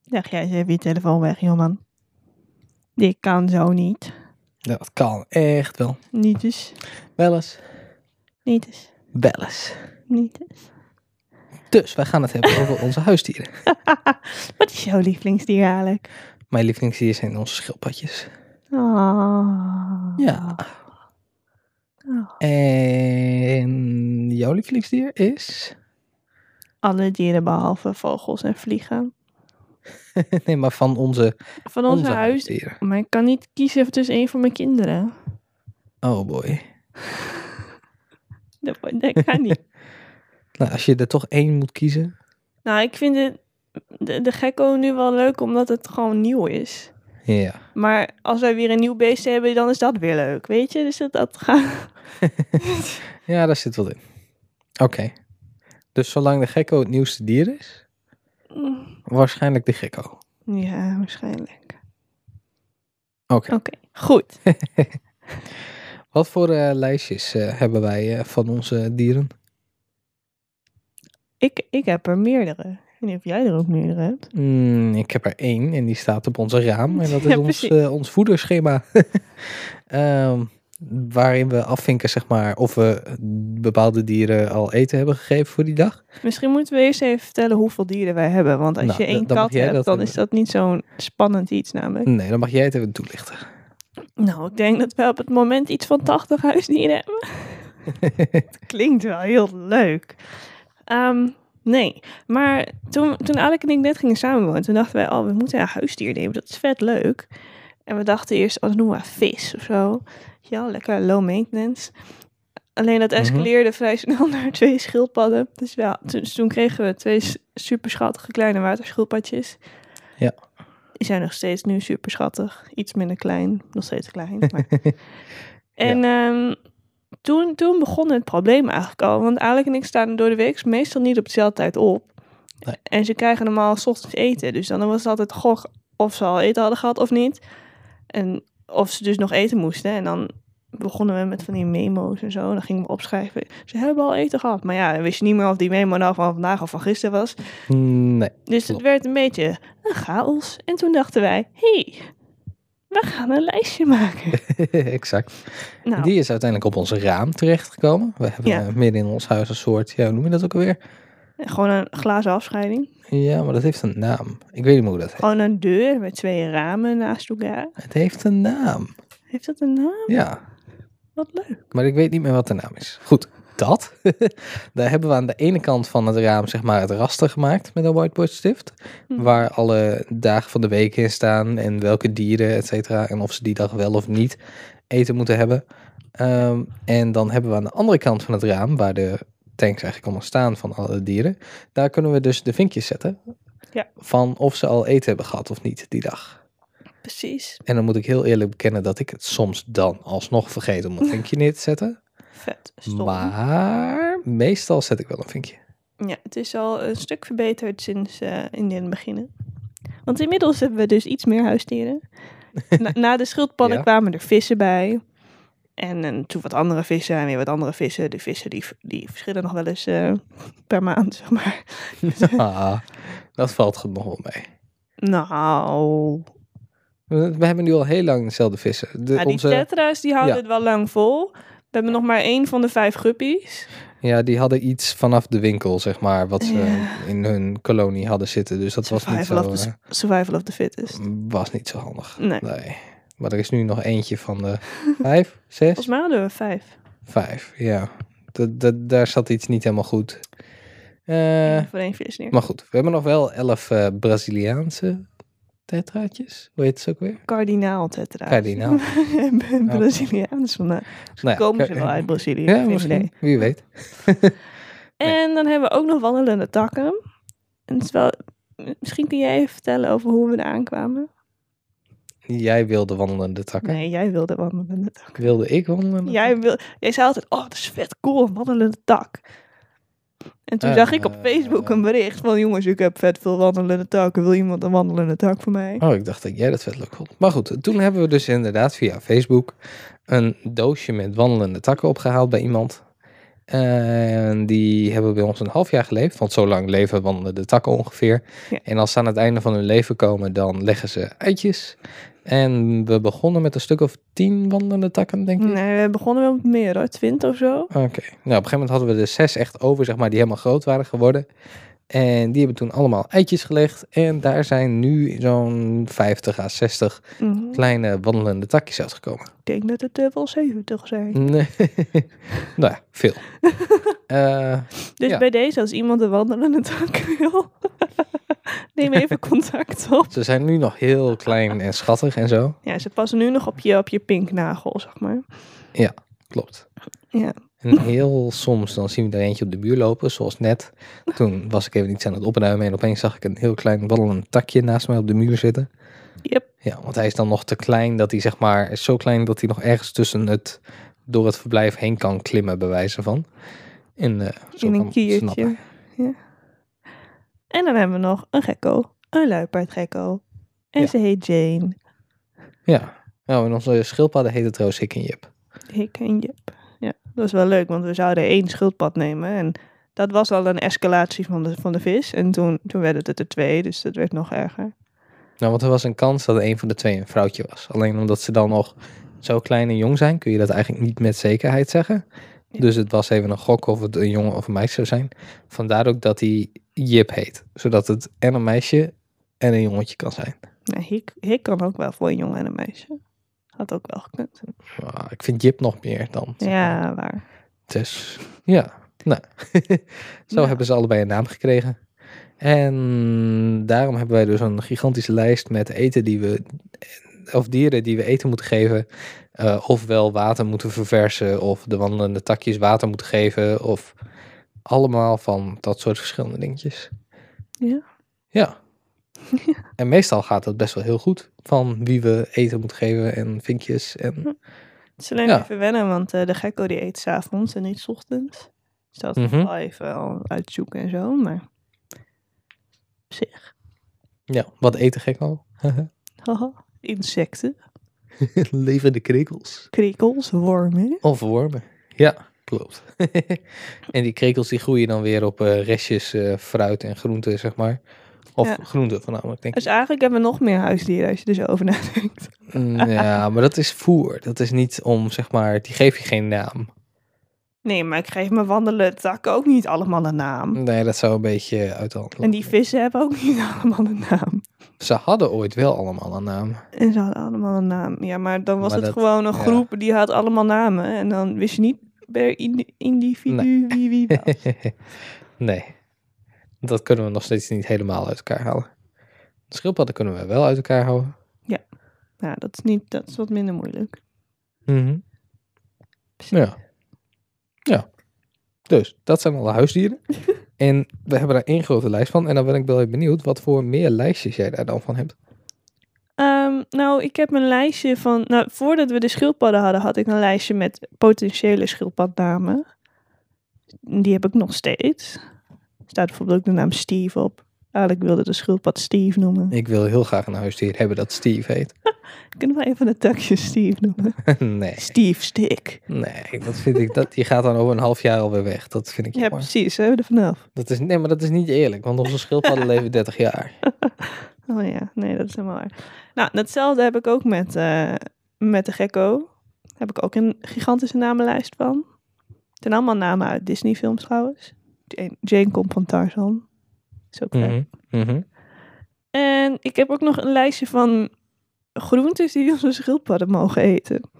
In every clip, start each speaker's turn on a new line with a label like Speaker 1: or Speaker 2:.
Speaker 1: zeg jij eens even je telefoon weg, jongen. Dit kan zo niet.
Speaker 2: Dat kan echt wel.
Speaker 1: Niet eens.
Speaker 2: Wel eens.
Speaker 1: Niet eens.
Speaker 2: Wel eens.
Speaker 1: Niet eens.
Speaker 2: Dus wij gaan het hebben over onze huisdieren.
Speaker 1: Wat is jouw lievelingsdier eigenlijk?
Speaker 2: Mijn lievelingsdier zijn onze schildpadjes.
Speaker 1: Oh.
Speaker 2: Ja. En jouw lievelingsdier is?
Speaker 1: Alle dieren behalve vogels en vliegen.
Speaker 2: Nee, maar van onze,
Speaker 1: Van onze,
Speaker 2: onze,
Speaker 1: huis.
Speaker 2: huisdieren.
Speaker 1: Maar ik kan niet kiezen tussen een van mijn kinderen.
Speaker 2: Oh boy.
Speaker 1: Dat, dat kan niet.
Speaker 2: Nou, als je er toch één moet kiezen.
Speaker 1: nou, ik vind het, de, de gekko nu wel leuk omdat het gewoon nieuw is.
Speaker 2: Ja.
Speaker 1: Maar als wij weer een nieuw beest hebben, dan is dat weer leuk, weet je? Dus dat, dat gaat...
Speaker 2: Ja, daar zit wat in. Oké. Dus zolang de gekko het nieuwste dier is, waarschijnlijk de gekko. Oké.
Speaker 1: Ja, waarschijnlijk. Oké, goed.
Speaker 2: Wat voor eh, lijstjes eh, hebben wij eh, van onze dieren?
Speaker 1: Ik, ik heb er meerdere. Ik weet niet of jij er ook meerdere hebt.
Speaker 2: Mm, ik heb er één en die staat op onze raam. En dat is
Speaker 1: Ja,
Speaker 2: ons,
Speaker 1: precies.
Speaker 2: eh, ons voederschema. Ehm, waarin we afvinken, zeg maar, of we bepaalde dieren al eten hebben gegeven voor die dag.
Speaker 1: Misschien moeten we eerst even vertellen hoeveel dieren wij hebben. Want als
Speaker 2: Nou,
Speaker 1: je één
Speaker 2: dan- dan mag
Speaker 1: kat
Speaker 2: jij
Speaker 1: hebt,
Speaker 2: dat
Speaker 1: dan
Speaker 2: hebben.
Speaker 1: is dat niet zo'n spannend iets namelijk.
Speaker 2: Nee, dan mag jij het even toelichten.
Speaker 1: Nou, ik denk dat wij op het moment iets van 80 huisdieren hebben. Klinkt wel heel leuk. Ehm, nee, maar toen, toen Alec en ik net gingen samenwonen, toen dachten wij, oh, we moeten een huisdier nemen. Dat is vet leuk. En we dachten eerst, als noemen we vis of zo. Ja, lekker low maintenance. Alleen dat escaleerde vrij snel naar twee schildpadden. Dus ja, toen, dus toen kregen we twee s- super schattige kleine waterschildpadjes.
Speaker 2: Ja.
Speaker 1: Die zijn nog steeds nu super schattig. Iets minder klein, nog steeds klein. Maar... en ehm, toen, toen begon het probleem eigenlijk al. Want Alec en ik staan door de week meestal niet op dezelfde tijd op.
Speaker 2: Nee.
Speaker 1: En ze krijgen normaal 's ochtends eten. Dus dan was het altijd gok of ze al eten hadden gehad of niet. En of ze dus nog eten moesten. En dan begonnen we met van die memo's en zo. En dan gingen we opschrijven. Ze hebben al eten gehad. Maar ja, dan wist je niet meer of die memo nou van vandaag of van gisteren was.
Speaker 2: Nee.
Speaker 1: Dus het
Speaker 2: Klopt.
Speaker 1: werd een beetje een chaos. En toen dachten wij, hé, hey, we gaan een lijstje maken.
Speaker 2: exact.
Speaker 1: Nou,
Speaker 2: Die is uiteindelijk op onze raam terechtgekomen. We hebben
Speaker 1: Ja.
Speaker 2: eh, midden in ons huis een soort, ja, hoe noem je dat ook alweer?
Speaker 1: gewoon een glazen afscheiding.
Speaker 2: Ja, maar dat heeft een naam. Ik weet niet meer hoe dat heet.
Speaker 1: Gewoon een deur met twee ramen naast elkaar.
Speaker 2: Het heeft een naam.
Speaker 1: Heeft dat een naam?
Speaker 2: Ja.
Speaker 1: Wat leuk.
Speaker 2: Maar ik weet niet meer wat de naam is. Goed, dat. Daar hebben we aan de ene kant van het raam zeg maar het raster gemaakt met een whiteboardstift.
Speaker 1: Hm.
Speaker 2: Waar alle dagen van de week in staan en welke dieren, et cetera. En of ze die dag wel of niet eten moeten hebben. Ehm, en dan hebben we aan de andere kant van het raam, waar de tanks eigenlijk allemaal staan van alle dieren. Daar kunnen we dus de vinkjes zetten.
Speaker 1: Ja.
Speaker 2: Van of ze al eten hebben gehad of niet die dag.
Speaker 1: Precies.
Speaker 2: En dan moet ik heel eerlijk bekennen dat ik het soms dan alsnog vergeet om een vinkje neer te zetten.
Speaker 1: Vet. Stom.
Speaker 2: Maar meestal zet ik wel een vinkje.
Speaker 1: Ja, het is al een stuk verbeterd sinds eh, in het begin. Want inmiddels hebben we dus iets meer huisdieren. Na, na de schildpadden
Speaker 2: Ja.
Speaker 1: kwamen er vissen bij. En, eh, toen wat andere vissen en weer wat andere vissen. De vissen die, v- die verschillen nog wel eens eh, per maand, zeg maar.
Speaker 2: Ah, dat valt goed nog wel mee.
Speaker 1: Nou,
Speaker 2: We- We hebben nu al heel lang dezelfde vissen. De,
Speaker 1: ja, die
Speaker 2: onze,
Speaker 1: tetra's die houden
Speaker 2: ja.
Speaker 1: het wel lang vol. We hebben nog maar één van de vijf guppies.
Speaker 2: ja, die hadden iets vanaf de winkel, zeg maar, wat ze
Speaker 1: Ja.
Speaker 2: in hun kolonie hadden zitten. Dus dat was niet,
Speaker 1: Survival,
Speaker 2: zo, Mm.
Speaker 1: of the,
Speaker 2: eh,
Speaker 1: survival of the fittest.
Speaker 2: was niet zo handig.
Speaker 1: Nee.
Speaker 2: Nee. Maar er is nu nog eentje van de vijf, zes,
Speaker 1: Volgens mij hadden we vijf.
Speaker 2: vijf. Ja, dat, dat, daar zat iets niet helemaal goed. Eh,
Speaker 1: Voor één vis neer.
Speaker 2: maar goed, we hebben nog wel elf eh, Braziliaanse tetraatjes. Hoe heet ze ook weer?
Speaker 1: Kardinaal tetra's.
Speaker 2: Kardinaal.
Speaker 1: Braziliaans vandaag.
Speaker 2: Nou ja,
Speaker 1: Komen ze
Speaker 2: kijk,
Speaker 1: wel uit Brazilië?
Speaker 2: Ja,
Speaker 1: geen
Speaker 2: misschien.
Speaker 1: idee.
Speaker 2: Wie weet.
Speaker 1: En dan hebben we ook nog wandelende takken. En het is wel, misschien kun jij even vertellen over hoe we er aankwamen.
Speaker 2: Jij wilde wandelende takken.
Speaker 1: Nee, jij wilde wandelende takken.
Speaker 2: Wilde ik wandelende
Speaker 1: Jij, wil, jij zei altijd, oh, dat is vet cool, een wandelende tak. En toen
Speaker 2: Eh,
Speaker 1: zag ik op Facebook
Speaker 2: eh,
Speaker 1: een bericht van, jongens, ik heb vet veel wandelende takken. Wil iemand een wandelende tak voor mij?
Speaker 2: takken? Oh, ik dacht dat jij dat vet leuk vond. Maar goed, toen hebben we dus inderdaad via Facebook een doosje met wandelende takken opgehaald bij iemand. En die hebben bij ons een half jaar geleefd, want zo lang leven wandelen de takken ongeveer.
Speaker 1: Ja.
Speaker 2: En als ze aan het einde van hun leven komen, dan leggen ze eitjes. En we begonnen met een stuk of tien wandelende takken, denk ik.
Speaker 1: Nee, we begonnen wel met meer hoor, twintig of zo.
Speaker 2: Oké. Nou, op een gegeven moment hadden we er zes echt over, zeg maar, die helemaal groot waren geworden. En die hebben toen allemaal eitjes gelegd. En daar zijn nu zo'n 50 à 60
Speaker 1: Mhm.
Speaker 2: kleine wandelende takjes uitgekomen.
Speaker 1: Ik denk dat het eh, wel 70 zijn.
Speaker 2: Nee. nou ja, veel. Eh,
Speaker 1: Dus
Speaker 2: Ja.
Speaker 1: bij deze, als iemand de wandelende tak wil, neem even contact op.
Speaker 2: ze zijn nu nog heel klein en schattig en zo.
Speaker 1: Ja, ze passen nu nog op je, op je pinknagel, zeg maar.
Speaker 2: Klopt.
Speaker 1: Ja.
Speaker 2: En heel soms dan zien we er eentje op de muur lopen, zoals net. Toen was ik even iets aan het opruimen en opeens zag ik een heel klein wandelend takje naast mij op de muur zitten.
Speaker 1: Yep.
Speaker 2: Ja, want hij is dan nog te klein dat hij zeg maar, is zo klein dat hij nog ergens tussen het, door het verblijf heen kan klimmen, bij wijze van. En, eh, zo
Speaker 1: in
Speaker 2: kan
Speaker 1: een
Speaker 2: ik het snappen.
Speaker 1: kiertje. Ja. En dan hebben we nog een gekko, een luipaardgekko. En
Speaker 2: Ja.
Speaker 1: ze heet Jane.
Speaker 2: Ja. Nou, en onze schildpadden heet het trouwens Hik en Jip.
Speaker 1: Ik en Jip. Ja, dat is wel leuk, want we zouden één schildpad nemen. En dat was al een escalatie van de, van de vis. En toen, toen werd het er twee, dus dat werd nog erger.
Speaker 2: Nou, want er was een kans dat een van de twee een vrouwtje was. Alleen omdat ze dan nog zo klein en jong zijn, kun je dat eigenlijk niet met zekerheid zeggen.
Speaker 1: Ja.
Speaker 2: Dus het was even een gok of het een jongen of een meisje zou zijn. Vandaar ook dat hij Jip heet. Zodat het en een meisje en een jongetje kan zijn.
Speaker 1: Nou, Hik, Hik kan ook wel voor een jongen en een meisje. Had ook wel gekund.
Speaker 2: Maar ik vind Jip nog meer dan. zeg maar.
Speaker 1: Ja, waar.
Speaker 2: Dus ja, nou. Zo
Speaker 1: Ja.
Speaker 2: hebben ze allebei een naam gekregen. En daarom hebben wij dus een gigantische lijst met eten die we, of dieren die we eten moeten geven. eh, ofwel water moeten verversen, of de wandelende takjes water moeten geven, of allemaal van dat soort verschillende dingetjes.
Speaker 1: Ja.
Speaker 2: Ja. en meestal gaat dat best wel heel goed, van wie we eten moeten geven en vinkjes en
Speaker 1: Hm. Het is alleen
Speaker 2: Ja.
Speaker 1: even wennen, want eh, de gekko die eet s'avonds en niet 's ochtends. Dus dat
Speaker 2: Mhm.
Speaker 1: wel even al uitzoeken en zo, maar... Op zich.
Speaker 2: ja, wat eten gek al.
Speaker 1: Haha. Insecten,
Speaker 2: Levende krekels.
Speaker 1: kriekels, wormen.
Speaker 2: Of wormen. Ja, klopt. en die krekels die groeien dan weer op eh, restjes eh, fruit en groenten, zeg maar. Of
Speaker 1: Ja.
Speaker 2: groenten voornamelijk, denk ik.
Speaker 1: Dus eigenlijk hebben we nog meer huisdieren als je er zo over nadenkt.
Speaker 2: Mm, ja, maar dat is voer. Dat is niet om, zeg maar, die geef je geen naam.
Speaker 1: Nee, maar ik geef mijn wandelen takken ook niet allemaal een naam.
Speaker 2: Nee, dat zou een beetje uit de hand lopen.
Speaker 1: En die vissen hebben ook niet allemaal een naam.
Speaker 2: Ze hadden ooit wel allemaal een naam.
Speaker 1: En ze hadden allemaal een naam. Ja, maar dan was
Speaker 2: Maar
Speaker 1: het
Speaker 2: dat-
Speaker 1: gewoon een
Speaker 2: ja.
Speaker 1: groep die had allemaal namen. En dan wist je niet per indi- individu wie wie was.
Speaker 2: nee, dat kunnen we nog steeds niet helemaal uit elkaar halen. Schildpadden kunnen we wel uit elkaar houden.
Speaker 1: nou, dat is, niet, dat is wat minder moeilijk.
Speaker 2: Mhm. Ja. Ja. Dus, dat zijn alle huisdieren. en we hebben daar één grote lijst van. En dan ben ik wel even benieuwd wat voor meer lijstjes jij daar dan van hebt.
Speaker 1: Ehm, nou, ik heb een lijstje van... Nou, voordat we de schildpadden hadden, had ik een lijstje met potentiële schildpadnamen. Die heb ik nog steeds. Er staat bijvoorbeeld ook de naam Steve op. Eigenlijk wilde de schildpad Steve noemen.
Speaker 2: Ik wil heel graag een huisdier hebben dat Steve heet.
Speaker 1: Kunnen we even de takje Steve noemen?
Speaker 2: nee,
Speaker 1: Steve Stick.
Speaker 2: nee, dat vind ik, dat, die gaat dan over een half jaar alweer weg. Dat vind ik
Speaker 1: Ja,
Speaker 2: jammer.
Speaker 1: precies. Hebben we er vanaf.
Speaker 2: Dat is, nee, maar dat is niet eerlijk, want onze schildpadden leven 30 jaar.
Speaker 1: Oh ja, nee, dat is helemaal waar. Nou, datzelfde heb ik ook met, eh, met de gekko. Daar heb ik ook een gigantische namenlijst van. Het zijn allemaal namen uit Disney-films trouwens. Jane, Jane komt van Tarzan. Is ook leuk.
Speaker 2: Mhm, mhm.
Speaker 1: En ik heb ook nog een lijstje van groentes die onze schildpadden mogen eten.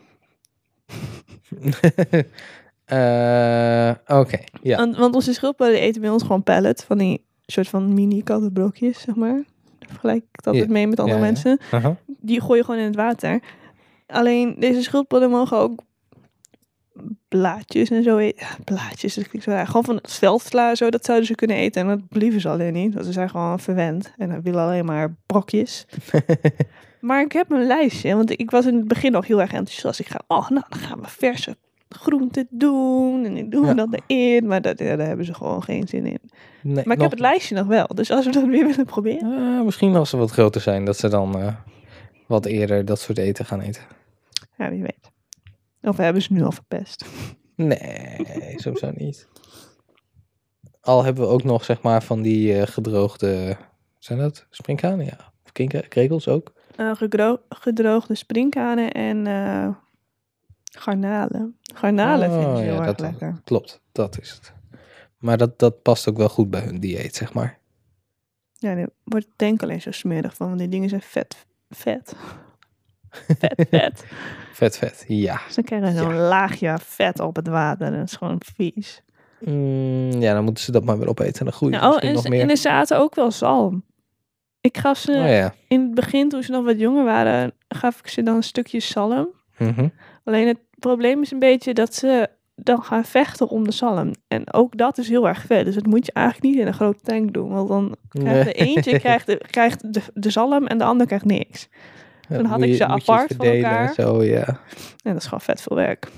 Speaker 2: Eh, Oké, ja.
Speaker 1: Want, want onze schildpadden eten bij ons gewoon pallet. Van die soort van mini kattenbrokjes, zeg maar. Daar vergelijk ik het altijd
Speaker 2: Ja.
Speaker 1: mee met andere
Speaker 2: Ja, ja.
Speaker 1: mensen.
Speaker 2: Aha.
Speaker 1: die gooi je gewoon in het water. Alleen deze schildpadden mogen ook blaadjes en zo eten. Ja, blaadjes, dat klinkt zo raar. Gewoon van het veldsla, zo, dat zouden ze kunnen eten. En dat blieven ze alleen niet, want ze zijn gewoon verwend. En dan willen alleen maar brokjes. maar ik heb een lijstje, want ik was in het begin nog heel erg enthousiast. Ik ga, oh, nou, dan gaan we verse groenten doen. En die doen we
Speaker 2: Ja.
Speaker 1: dat erin. Maar dat, ja, daar hebben ze gewoon geen zin in.
Speaker 2: Nee,
Speaker 1: Maar ik
Speaker 2: nog-
Speaker 1: heb het lijstje nog wel. Dus als we dat weer willen proberen.
Speaker 2: Eh, misschien als ze wat groter zijn, dat ze dan eh, wat eerder dat soort eten gaan eten.
Speaker 1: Ja, wie weet. Of we hebben ze nu al verpest.
Speaker 2: Nee, sowieso niet. Al hebben we ook nog, zeg maar, van die eh, gedroogde... Zijn dat springkanen? Ja. Of kinker- krekels ook?
Speaker 1: Eh, gedro- gedroogde springkanen en eh, garnalen. Garnalen
Speaker 2: Oh,
Speaker 1: vind ik heel
Speaker 2: ja,
Speaker 1: erg
Speaker 2: dat dan.
Speaker 1: lekker.
Speaker 2: Klopt, dat is het. Maar dat, dat past ook wel goed bij hun dieet, zeg maar.
Speaker 1: Ja, daar wordt denk ik alleen zo smerig van, want die dingen zijn vet. Vet. Vet, vet.
Speaker 2: Vet, vet, ja.
Speaker 1: Dus dan krijgen ze zo'n laagje vet op het water. Dat is gewoon vies.
Speaker 2: Mm, ja, dan moeten ze dat maar weer opeten en dan groeien ze
Speaker 1: Nou, oh,
Speaker 2: misschien
Speaker 1: en,
Speaker 2: nog
Speaker 1: ze-
Speaker 2: meer.
Speaker 1: en er zaten ook wel zalm. Ik gaf ze
Speaker 2: Oh ja.
Speaker 1: in het begin, toen ze nog wat jonger waren, gaf ik ze dan een stukje zalm.
Speaker 2: Mhm.
Speaker 1: Alleen het probleem is een beetje dat ze dan gaan vechten om de zalm. En ook dat is heel erg vet. Dus dat moet je eigenlijk niet in een grote tank doen. Want dan krijgt de
Speaker 2: Nee.
Speaker 1: eentje krijgt de, krijgt de, de zalm en de ander krijgt niks.
Speaker 2: Ja,
Speaker 1: toen had
Speaker 2: moet
Speaker 1: ik
Speaker 2: je-
Speaker 1: ze
Speaker 2: moet je het
Speaker 1: apart van
Speaker 2: verdelen en
Speaker 1: elkaar.
Speaker 2: Zo, ja.
Speaker 1: En dat is gewoon vet veel werk.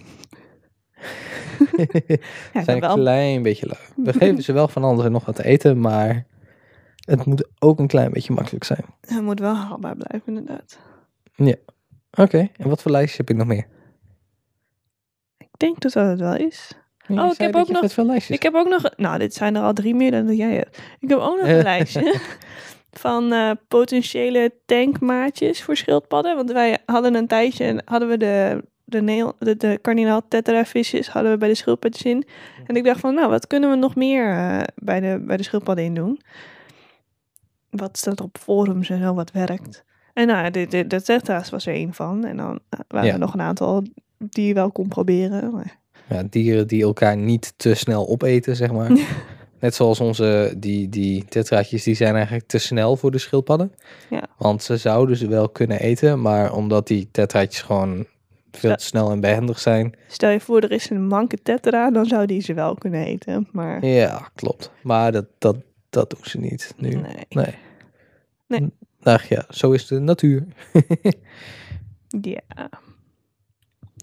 Speaker 1: ja,
Speaker 2: Ze zijn
Speaker 1: ik
Speaker 2: een
Speaker 1: ben wel.
Speaker 2: klein beetje lui. We geven ze wel van alles en nog wat te eten, maar het moet ook een klein beetje makkelijk zijn.
Speaker 1: Het moet wel haalbaar blijven, inderdaad.
Speaker 2: Oké, en wat voor lijstjes heb ik nog meer?
Speaker 1: Ik denk dat dat het wel is.
Speaker 2: Je
Speaker 1: Oh, ik
Speaker 2: zei
Speaker 1: heb
Speaker 2: dat
Speaker 1: ook
Speaker 2: je
Speaker 1: nog-
Speaker 2: vet veel lijstjes.
Speaker 1: Ik heb ook nog, nou, dit zijn er al drie meer dan dat jij hebt. Ik heb ook nog een lijstje van eh, potentiële tankmaatjes voor schildpadden. Want wij hadden een tijdje en hadden we de, de, neel, de, de kardinaal tetravisjes hadden we bij de schildpadjes in. En ik dacht van, nou, wat kunnen we nog meer eh, bij, de, bij de schildpadden in doen? Wat staat op forums en zo, wat werkt. En nou, de, de, de tetra's was er één van. En dan eh, waren
Speaker 2: Ja.
Speaker 1: er nog een aantal die je wel kon proberen. Maar
Speaker 2: Ja, dieren die elkaar niet te snel opeten, zeg maar. Net zoals onze, die, die tetraatjes, die zijn eigenlijk te snel voor de schildpadden.
Speaker 1: Ja.
Speaker 2: Want ze zouden ze wel kunnen eten, maar omdat die tetraatjes gewoon veel
Speaker 1: Ja.
Speaker 2: te snel en behendig zijn.
Speaker 1: Stel je voor, er is een manke tetra, dan zou die ze wel kunnen eten. Maar
Speaker 2: Ja, klopt. Maar dat, dat, dat doen ze niet nu.
Speaker 1: nee.
Speaker 2: Nee.
Speaker 1: Nee.
Speaker 2: N- Nou ja, zo is de natuur.
Speaker 1: Ja.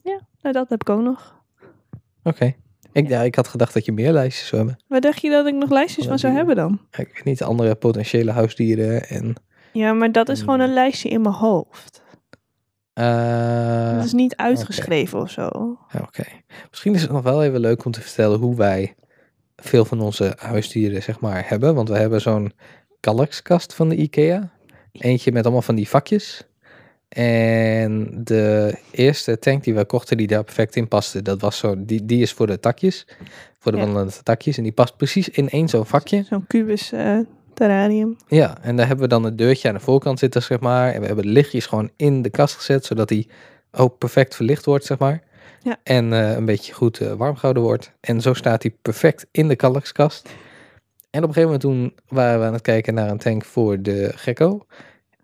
Speaker 1: Ja, nou dat heb ik ook nog.
Speaker 2: Oké. Ik, ja, ik had gedacht dat je meer lijstjes zou hebben.
Speaker 1: Waar dacht je dat ik nog lijstjes
Speaker 2: Alle
Speaker 1: van zou
Speaker 2: dieren.
Speaker 1: hebben dan?
Speaker 2: Ik weet niet, andere potentiële huisdieren en...
Speaker 1: Ja, maar dat is gewoon
Speaker 2: Hmm.
Speaker 1: een lijstje in mijn hoofd.
Speaker 2: eh,
Speaker 1: Dat is niet uitgeschreven of zo.
Speaker 2: Ja, Oké. Misschien is het nog wel even leuk om te vertellen hoe wij veel van onze huisdieren, zeg maar, hebben. Want we hebben zo'n kalkskast van de IKEA. Eentje met allemaal van die vakjes. En de eerste tank die we kochten, die daar perfect in paste, dat was zo, die, die is voor de takjes. Voor de
Speaker 1: Ja.
Speaker 2: wandelende takjes. En die past precies in één zo'n vakje.
Speaker 1: Zo'n kubus eh, terrarium.
Speaker 2: Ja, en daar hebben we dan een deurtje aan de voorkant zitten, zeg maar. En we hebben de lichtjes gewoon in de kast gezet, zodat die ook perfect verlicht wordt, zeg maar.
Speaker 1: Ja.
Speaker 2: En eh, een beetje goed eh, warm gehouden wordt. En zo staat hij perfect in de kalkskast. En op een gegeven moment toen waren we aan het kijken naar een tank voor de gekko.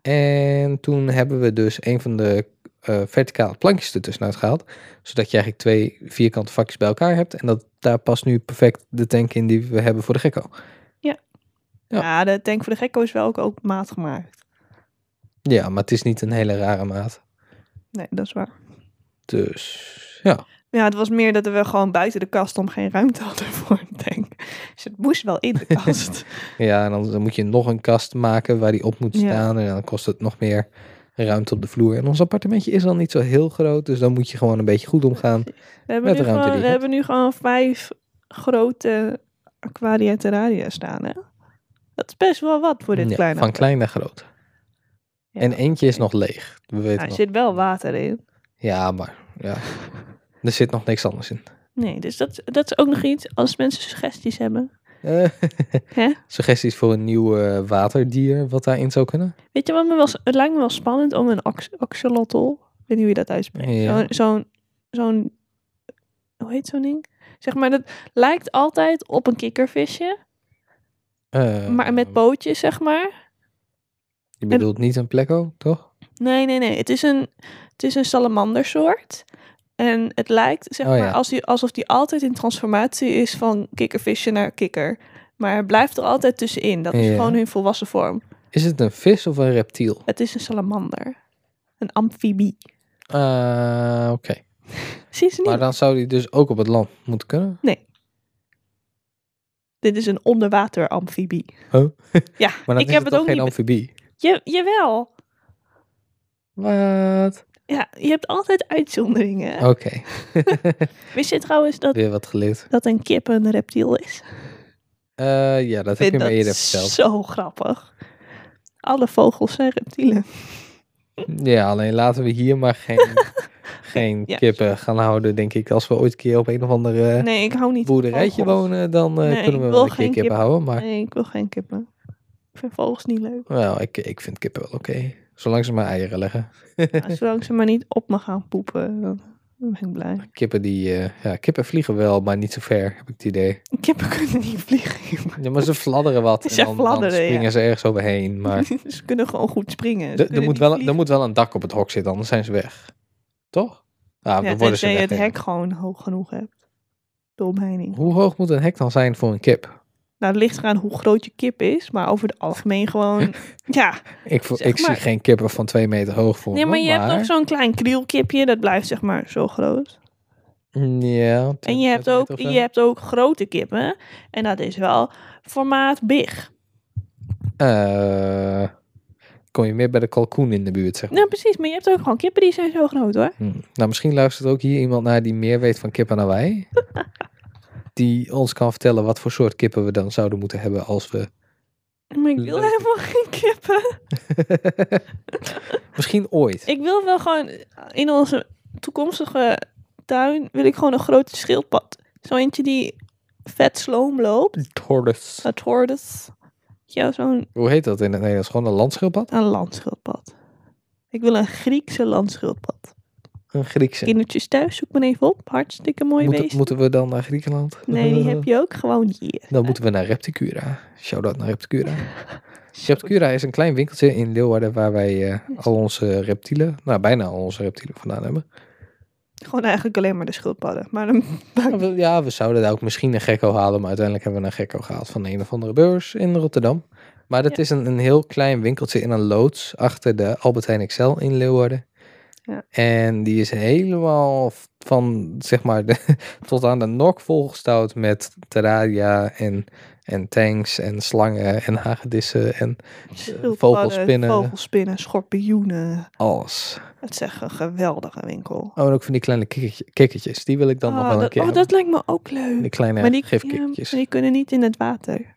Speaker 2: En toen hebben we dus een van de eh, verticale plankjes ertussenuit gehaald. Zodat je eigenlijk twee vierkante vakjes bij elkaar hebt. En dat, daar past nu perfect de tank in die we hebben voor de gekko. Ja.
Speaker 1: Ja, de tank voor de gekko is wel ook, ook maat gemaakt.
Speaker 2: Ja, maar het is niet een hele rare maat.
Speaker 1: Nee, dat is waar.
Speaker 2: Dus ja,
Speaker 1: Ja, het was meer dat we gewoon buiten de kast om geen ruimte hadden voor een tank. Dus het moest wel in de kast.
Speaker 2: ja en dan, dan moet je nog een kast maken waar die op moet
Speaker 1: Ja.
Speaker 2: staan. En dan kost het nog meer ruimte op de vloer. En ons appartementje is al niet zo heel groot. Dus dan moet je gewoon een beetje goed omgaan.
Speaker 1: We hebben,
Speaker 2: Met
Speaker 1: nu
Speaker 2: de ruimte
Speaker 1: gewoon,
Speaker 2: die
Speaker 1: we
Speaker 2: je
Speaker 1: hebben nu gewoon vijf grote aquaria terraria staan, hè? Dat is best wel wat voor dit
Speaker 2: Ja,
Speaker 1: kleine.
Speaker 2: van klein naar groot.
Speaker 1: Ja,
Speaker 2: en eentje is
Speaker 1: oké.
Speaker 2: nog leeg. We weten
Speaker 1: Nou, er
Speaker 2: nog.
Speaker 1: zit wel water in.
Speaker 2: Ja, maar ja. er zit nog niks anders in.
Speaker 1: Nee, dus dat, dat is ook nog iets als mensen suggesties hebben.
Speaker 2: Eh,
Speaker 1: Hè?
Speaker 2: suggesties voor een nieuw eh, waterdier wat daarin zou kunnen?
Speaker 1: Weet je wat me wel... Het lijkt me wel spannend om een ox- axolotl... Ik weet niet hoe je dat uitspreekt.
Speaker 2: Ja.
Speaker 1: Zo'n... zo'n- zo'n- hoe heet zo'n ding? Zeg maar, dat lijkt altijd op een kikkervisje.
Speaker 2: Eh,
Speaker 1: maar met pootjes, zeg maar.
Speaker 2: Je bedoelt niet een plekko, toch?
Speaker 1: Nee, nee, nee. Het is een, het is een salamandersoort. En het lijkt zeg
Speaker 2: Oh, ja.
Speaker 1: maar, als die, alsof die altijd in transformatie is van kikkervisje naar kikker. Maar het blijft er altijd tussenin. Dat is
Speaker 2: Ja.
Speaker 1: gewoon hun volwassen vorm.
Speaker 2: Is het een vis of een reptiel?
Speaker 1: Het is een salamander. Een amfibie.
Speaker 2: Ah, Oké.
Speaker 1: Zie je ze niet?
Speaker 2: Maar dan zou die dus ook op het land moeten kunnen.
Speaker 1: Dit is een onderwater amfibie.
Speaker 2: Oh.
Speaker 1: Ja,
Speaker 2: Maar dan
Speaker 1: ik
Speaker 2: is
Speaker 1: heb het
Speaker 2: het toch
Speaker 1: ook
Speaker 2: geen
Speaker 1: niet...
Speaker 2: amfibie.
Speaker 1: Je, jawel.
Speaker 2: Wat?
Speaker 1: Ja, je hebt altijd uitzonderingen.
Speaker 2: Oké,
Speaker 1: Wist je trouwens dat,
Speaker 2: weer wat geleerd.
Speaker 1: dat een kip een reptiel is?
Speaker 2: Eh, ja, dat heb je
Speaker 1: Vind
Speaker 2: me
Speaker 1: dat
Speaker 2: eerder verteld.
Speaker 1: zo grappig. Alle vogels zijn reptielen.
Speaker 2: Ja, alleen laten we hier maar geen, geen
Speaker 1: Ja.
Speaker 2: kippen gaan houden, denk ik. Als we ooit een keer op een of andere
Speaker 1: Nee, ik hou niet van
Speaker 2: boerderijtje
Speaker 1: vogels.
Speaker 2: wonen, dan eh,
Speaker 1: Nee, ik
Speaker 2: kunnen we
Speaker 1: wil
Speaker 2: wel een
Speaker 1: geen
Speaker 2: keer kippen
Speaker 1: kippen.
Speaker 2: houden. Maar
Speaker 1: Nee, ik wil geen kippen. Ik vind vogels niet leuk.
Speaker 2: wel, ik, ik vind kippen wel oké. Zolang ze maar eieren leggen.
Speaker 1: Ja, zolang ze maar niet op me gaan poepen, dan ben ik blij.
Speaker 2: Kippen, die, eh, ja, kippen vliegen wel, maar niet zo ver, heb ik het idee.
Speaker 1: Kippen kunnen niet vliegen. jongen.
Speaker 2: Ja, maar ze fladderen wat.
Speaker 1: Ze
Speaker 2: en dan,
Speaker 1: fladderen,
Speaker 2: dan
Speaker 1: ja.
Speaker 2: springen ze ergens overheen. Maar
Speaker 1: ze kunnen gewoon goed springen. Ze
Speaker 2: er- er,
Speaker 1: kunnen
Speaker 2: moet
Speaker 1: niet
Speaker 2: wel, een- er
Speaker 1: vliegen.
Speaker 2: moet wel een dak op het hok zitten, anders zijn ze weg. Toch? Ja,
Speaker 1: Ja,
Speaker 2: dan worden ze
Speaker 1: tenzij je
Speaker 2: weg,
Speaker 1: het
Speaker 2: denk ik.
Speaker 1: hek gewoon hoog genoeg hebt. De omheining.
Speaker 2: Hoe hoog moet een hek dan zijn voor een kip?
Speaker 1: Nou, het ligt eraan hoe groot je kip is, maar over het algemeen gewoon... ja,
Speaker 2: Ik, vo-
Speaker 1: Zeg
Speaker 2: ik
Speaker 1: maar-
Speaker 2: zie geen kippen van twee meter hoog voor
Speaker 1: nee,
Speaker 2: me,
Speaker 1: maar je hebt nog zo'n klein krielkipje, dat blijft zeg maar zo groot.
Speaker 2: Mm, Ja, 10
Speaker 1: En je hebt,
Speaker 2: centimeter
Speaker 1: ook,
Speaker 2: of zo.
Speaker 1: je hebt ook grote kippen, en dat is wel formaat big.
Speaker 2: Eh, kom je meer bij de kalkoen in de buurt, zeg maar.
Speaker 1: Nou, precies, maar je hebt ook gewoon kippen die zijn zo groot hoor.
Speaker 2: Hm. Nou, misschien luistert ook hier iemand naar die meer weet van kippen dan wij. die ons kan vertellen wat voor soort kippen we dan zouden moeten hebben als we...
Speaker 1: Maar ik wil
Speaker 2: Leuke
Speaker 1: helemaal geen kippen.
Speaker 2: misschien ooit.
Speaker 1: Ik wil wel gewoon in onze toekomstige tuin wil ik gewoon een grote schildpad. Zo eentje die vet sloom loopt.
Speaker 2: Tortoise.
Speaker 1: Dat hordes. Ja, zo'n
Speaker 2: Hoe heet dat in het Nederlands? Gewoon een landschildpad?
Speaker 1: een landschildpad. Ik wil een Griekse landschildpad.
Speaker 2: Een Griekse.
Speaker 1: Kindertjes thuis, zoek me even op. Hartstikke mooi
Speaker 2: Moeten-
Speaker 1: beest.
Speaker 2: moeten we dan naar Griekenland?
Speaker 1: Nee, die heb je ook gewoon hier.
Speaker 2: Dan moeten we naar Repticura. Shout-out naar Repticura. Repticura is een klein winkeltje in Leeuwarden waar wij eh, al onze reptielen, nou bijna al onze reptielen vandaan hebben.
Speaker 1: Gewoon eigenlijk alleen maar de schildpadden. Maar dan
Speaker 2: Ja, we- Ja, we zouden daar ook misschien een gekko halen, maar uiteindelijk hebben we een gekko gehaald van een of andere beurs in Rotterdam. Maar dat
Speaker 1: Ja.
Speaker 2: is een, een heel klein winkeltje in een loods achter de Albert Heijn XL in Leeuwarden.
Speaker 1: Ja.
Speaker 2: En die is helemaal v- van, zeg maar, de- tot aan de nok volgestouwd met terraria en, en tanks en slangen en hagedissen en
Speaker 1: schildpadden,
Speaker 2: vogelspinnen.
Speaker 1: vogelspinnen, schorpioenen.
Speaker 2: alles.
Speaker 1: Het is echt een geweldige winkel.
Speaker 2: Oh, en ook van die kleine kikkertje- kikkertjes. Die wil ik dan nog
Speaker 1: Ah,
Speaker 2: wel een
Speaker 1: dat,
Speaker 2: keer
Speaker 1: oh,
Speaker 2: hebben.
Speaker 1: dat lijkt me ook leuk.
Speaker 2: Die kleine
Speaker 1: maar die, ja, maar
Speaker 2: gifkikkertjes.
Speaker 1: die kunnen niet in het water.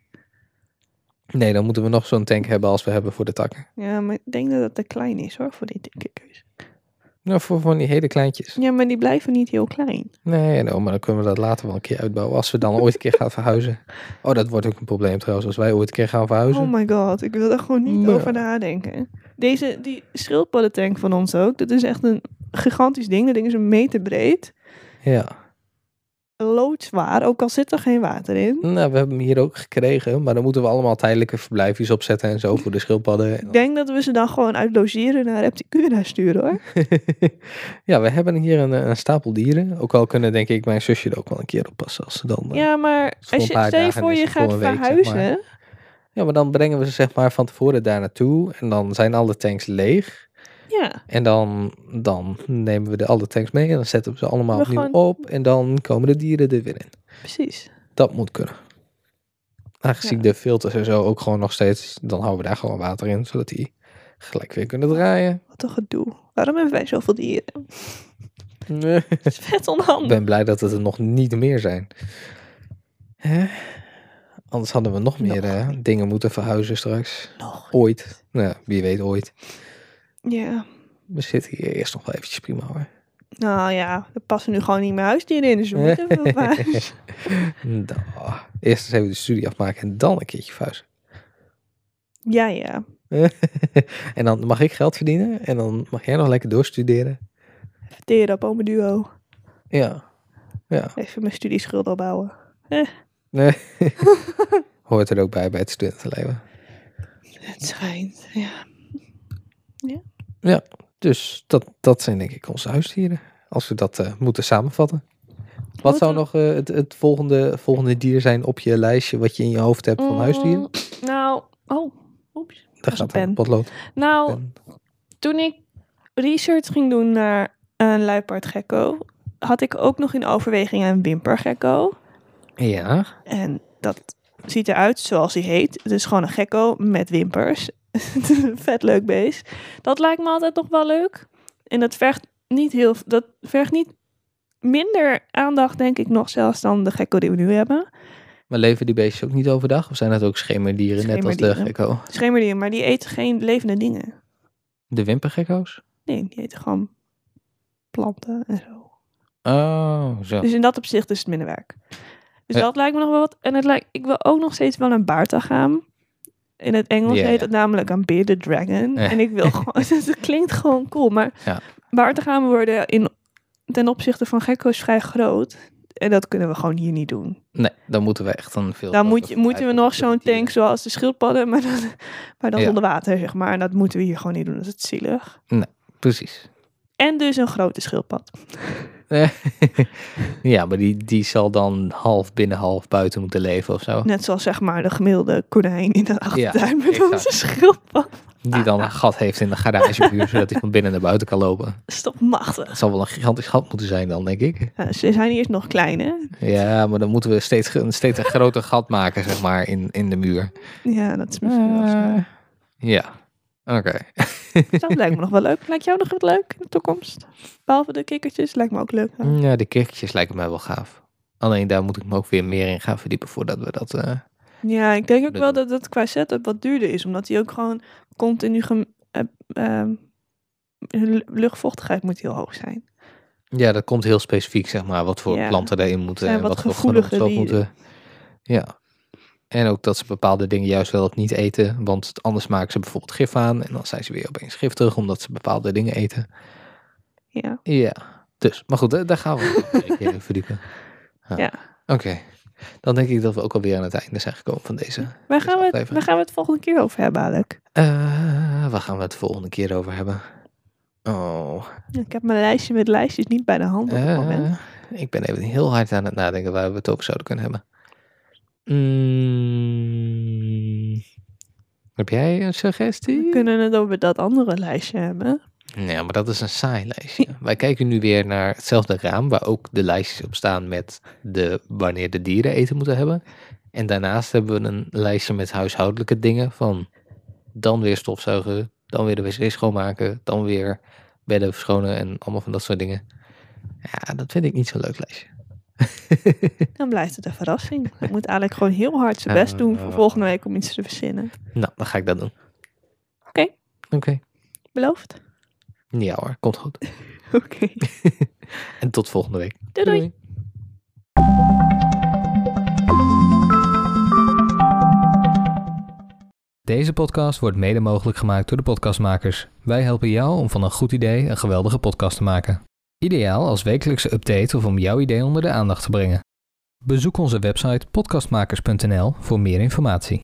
Speaker 2: Nee, dan moeten we nog zo'n tank hebben als we hebben voor de takken.
Speaker 1: Ja, maar ik denk dat het te klein is hoor, voor die kikkers.
Speaker 2: Nou, voor van die hele kleintjes.
Speaker 1: Ja, maar die blijven niet heel klein.
Speaker 2: Nee, nou, maar dan kunnen we dat later wel een keer uitbouwen. Als we dan ooit een keer gaan verhuizen. Oh, dat wordt ook een probleem trouwens. Als wij ooit een keer gaan verhuizen.
Speaker 1: Oh my god, ik wil daar gewoon niet
Speaker 2: Ja.
Speaker 1: over nadenken. Deze, die schildpaddentank van ons ook, dat is echt een gigantisch ding. Dat ding is een meter breed,
Speaker 2: Ja.
Speaker 1: loodzwaar, ook al zit er geen water in.
Speaker 2: Nou, we hebben hem hier ook gekregen. Maar dan moeten we allemaal tijdelijke verblijfjes opzetten en zo voor de schildpadden.
Speaker 1: Ik denk dat we ze dan gewoon uit logeren naar Repticura sturen hoor.
Speaker 2: ja, we hebben hier een, een stapel dieren. Ook al kunnen denk ik mijn zusje er ook wel een keer op passen. Als ze dan, eh,
Speaker 1: Ja, maar
Speaker 2: voor
Speaker 1: als
Speaker 2: een
Speaker 1: je,
Speaker 2: paar
Speaker 1: stel je
Speaker 2: dagen
Speaker 1: voor
Speaker 2: is
Speaker 1: je
Speaker 2: het voor
Speaker 1: gaat
Speaker 2: een week, zeg maar.
Speaker 1: verhuizen,
Speaker 2: ja, maar dan brengen we ze zeg maar van tevoren daar naartoe. En dan zijn alle tanks leeg.
Speaker 1: ja.
Speaker 2: En dan, dan nemen we de, alle tanks mee en dan zetten we ze allemaal
Speaker 1: We
Speaker 2: opnieuw
Speaker 1: gewoon-
Speaker 2: op. En dan komen de dieren er weer in.
Speaker 1: Precies.
Speaker 2: Dat moet kunnen. Aangezien
Speaker 1: Ja.
Speaker 2: de filters en zo ook gewoon nog steeds, dan houden we daar gewoon water in, zodat die gelijk weer kunnen draaien.
Speaker 1: Wat een gedoe. Waarom hebben wij zoveel dieren? Het is vet
Speaker 2: Ik
Speaker 1: onhandig.
Speaker 2: ben blij dat het er nog niet meer zijn. Hè? Anders hadden we nog meer
Speaker 1: Nog
Speaker 2: eh, dingen moeten verhuizen straks.
Speaker 1: Nog.
Speaker 2: Ooit. Nou, wie weet ooit.
Speaker 1: Ja.
Speaker 2: We zitten hier eerst nog wel eventjes prima hoor.
Speaker 1: Nou ja, er passen nu gewoon niet meer huisdieren in, dus we moeten wel verhuizen.
Speaker 2: Nou, eerst eens even de studie afmaken en dan een keertje vuist.
Speaker 1: Ja, ja.
Speaker 2: En dan mag ik geld verdienen en dan mag jij nog lekker doorstuderen.
Speaker 1: Verteren op Ome Duo.
Speaker 2: Ja.
Speaker 1: Even mijn studieschuld opbouwen.
Speaker 2: Hoort er ook bij bij het studentenleven.
Speaker 1: Het schijnt, ja.
Speaker 2: Dus dat, dat zijn denk ik onze huisdieren. Als we dat eh, moeten samenvatten. Wat zou
Speaker 1: Moeten-
Speaker 2: nog eh, het, het volgende, volgende dier zijn op je lijstje wat je in je hoofd hebt van huisdieren?
Speaker 1: Mm, Nou, oh, oeps.
Speaker 2: Daar
Speaker 1: was een
Speaker 2: gaat een
Speaker 1: pen.
Speaker 2: potlood.
Speaker 1: Nou,
Speaker 2: Pen.
Speaker 1: toen ik research ging doen naar een luipaardgekko, had ik ook nog in overweging een wimpergekko.
Speaker 2: Ja.
Speaker 1: En dat ziet eruit zoals hij heet. Het is gewoon een gekko met wimpers. Vet leuk beest. Dat lijkt me altijd nog wel leuk. En dat vergt niet heel, dat vergt niet minder aandacht, denk ik, nog zelfs dan de gekko die we nu hebben.
Speaker 2: Maar leven die beestjes ook niet overdag? Of zijn dat ook schemerdieren, net als de
Speaker 1: Schemerdieren.
Speaker 2: gekko?
Speaker 1: Schemerdieren, maar die eten geen levende dingen.
Speaker 2: De wimpergekko's?
Speaker 1: Nee, die eten gewoon planten en zo.
Speaker 2: Oh, zo.
Speaker 1: Dus in dat opzicht is het minder werk. Dus
Speaker 2: Ja.
Speaker 1: dat lijkt me nog wel wat. En het lijkt, ik wil ook nog steeds wel een baartagaam. In het Engels
Speaker 2: Ja,
Speaker 1: heet
Speaker 2: ja.
Speaker 1: het namelijk een bearded dragon.
Speaker 2: Ja.
Speaker 1: En ik wil gewoon, het klinkt gewoon cool. Maar
Speaker 2: Ja.
Speaker 1: baartagamen worden in, ten opzichte van gekko's vrij groot. En dat kunnen we gewoon hier niet doen.
Speaker 2: Nee, dan moeten we echt een veel...
Speaker 1: Dan moet, je- moeten we nog zo'n tank
Speaker 2: tanks.
Speaker 1: zoals de schildpadden, maar dan, maar dan
Speaker 2: Ja.
Speaker 1: onder water, zeg maar. En dat moeten we hier gewoon niet doen, dat is het zielig.
Speaker 2: Precies.
Speaker 1: En dus een grote schildpad.
Speaker 2: ja, maar die, die zal dan half binnen, half buiten moeten leven of zo.
Speaker 1: Net zoals zeg maar de gemiddelde konijn in de achtertuin met
Speaker 2: exact.
Speaker 1: onze schildpad.
Speaker 2: Die dan
Speaker 1: Ah.
Speaker 2: een gat heeft in de garagemuur, zodat hij van binnen naar buiten kan lopen.
Speaker 1: Stop machtig.
Speaker 2: Het zal wel een gigantisch gat moeten zijn dan, denk ik.
Speaker 1: Ja, ze zijn eerst nog klein, hè?
Speaker 2: Ja, maar dan moeten we steeds, ge- een steeds een groter gat maken, zeg maar, in, in de muur.
Speaker 1: Ja, dat is misschien wel zo.
Speaker 2: Eh, ja, oké.
Speaker 1: Dus Dat lijkt me nog wel leuk. Lijkt jou nog wat leuk in de toekomst? Behalve de kikkertjes, lijkt me ook leuk. hè?
Speaker 2: Ja, de kerkjes lijken mij wel gaaf. Alleen daar moet ik me ook weer meer in gaan verdiepen voordat we dat... eh,
Speaker 1: Ja, ik denk ook
Speaker 2: Dat
Speaker 1: wel
Speaker 2: doen
Speaker 1: dat dat qua setup wat duurder is. Omdat die ook gewoon continu... gem- eh, ehm, hun lu- luchtvochtigheid moet heel hoog zijn.
Speaker 2: Ja, dat komt heel specifiek, zeg maar, wat voor
Speaker 1: Ja.
Speaker 2: planten erin moeten
Speaker 1: Zijn
Speaker 2: en
Speaker 1: wat
Speaker 2: wat voor
Speaker 1: gevoelige
Speaker 2: grondstof
Speaker 1: dieren.
Speaker 2: moeten. Ja. En ook dat ze bepaalde dingen juist wel of niet eten, want anders maken ze bijvoorbeeld gif aan en dan zijn ze weer opeens giftig omdat ze bepaalde dingen eten.
Speaker 1: Ja.
Speaker 2: Ja, dus, maar goed, eh, daar gaan we nog een keer in verdiepen.
Speaker 1: Ja.
Speaker 2: Oké, dan denk ik dat we ook alweer aan het einde zijn gekomen van deze.
Speaker 1: Waar gaan, we het,
Speaker 2: aflevering.
Speaker 1: waar gaan we het volgende keer over hebben, Alec?
Speaker 2: Eh, waar gaan we het volgende keer over hebben? Oh,
Speaker 1: Ik heb mijn lijstje met lijstjes niet bij de hand op het moment.
Speaker 2: Eh, ik ben even heel hard aan het nadenken waar we het over zouden kunnen hebben. Mm. heb jij een
Speaker 1: We
Speaker 2: suggestie?
Speaker 1: kunnen het over dat andere lijstje hebben.
Speaker 2: Nee, Nou, maar dat is een saai lijstje. Wij kijken nu weer naar hetzelfde raam waar ook de lijstjes op staan met de, wanneer de dieren eten moeten hebben. En daarnaast hebben we een lijstje met huishoudelijke dingen van dan weer stofzuigen, dan weer de wc schoonmaken, dan weer bedden verschonen en allemaal van dat soort dingen. Ja, dat vind ik niet zo'n leuk lijstje.
Speaker 1: Dan blijft het een verrassing. Ik moet eigenlijk gewoon heel hard zijn
Speaker 2: Ja,
Speaker 1: best doen
Speaker 2: ja,
Speaker 1: voor
Speaker 2: ja.
Speaker 1: volgende week om iets te verzinnen.
Speaker 2: Nou, dan ga ik dat doen.
Speaker 1: Oké.
Speaker 2: Oké.
Speaker 1: Beloofd?
Speaker 2: Ja hoor, komt goed.
Speaker 1: Oké.
Speaker 2: En tot volgende week.
Speaker 1: Doei doei.
Speaker 2: Deze podcast wordt mede mogelijk gemaakt door de podcastmakers. Wij helpen jou om van een goed idee een geweldige podcast te maken. Ideaal als wekelijkse update of om jouw idee onder de aandacht te brengen. Bezoek onze website podcastmakers.nl voor meer informatie.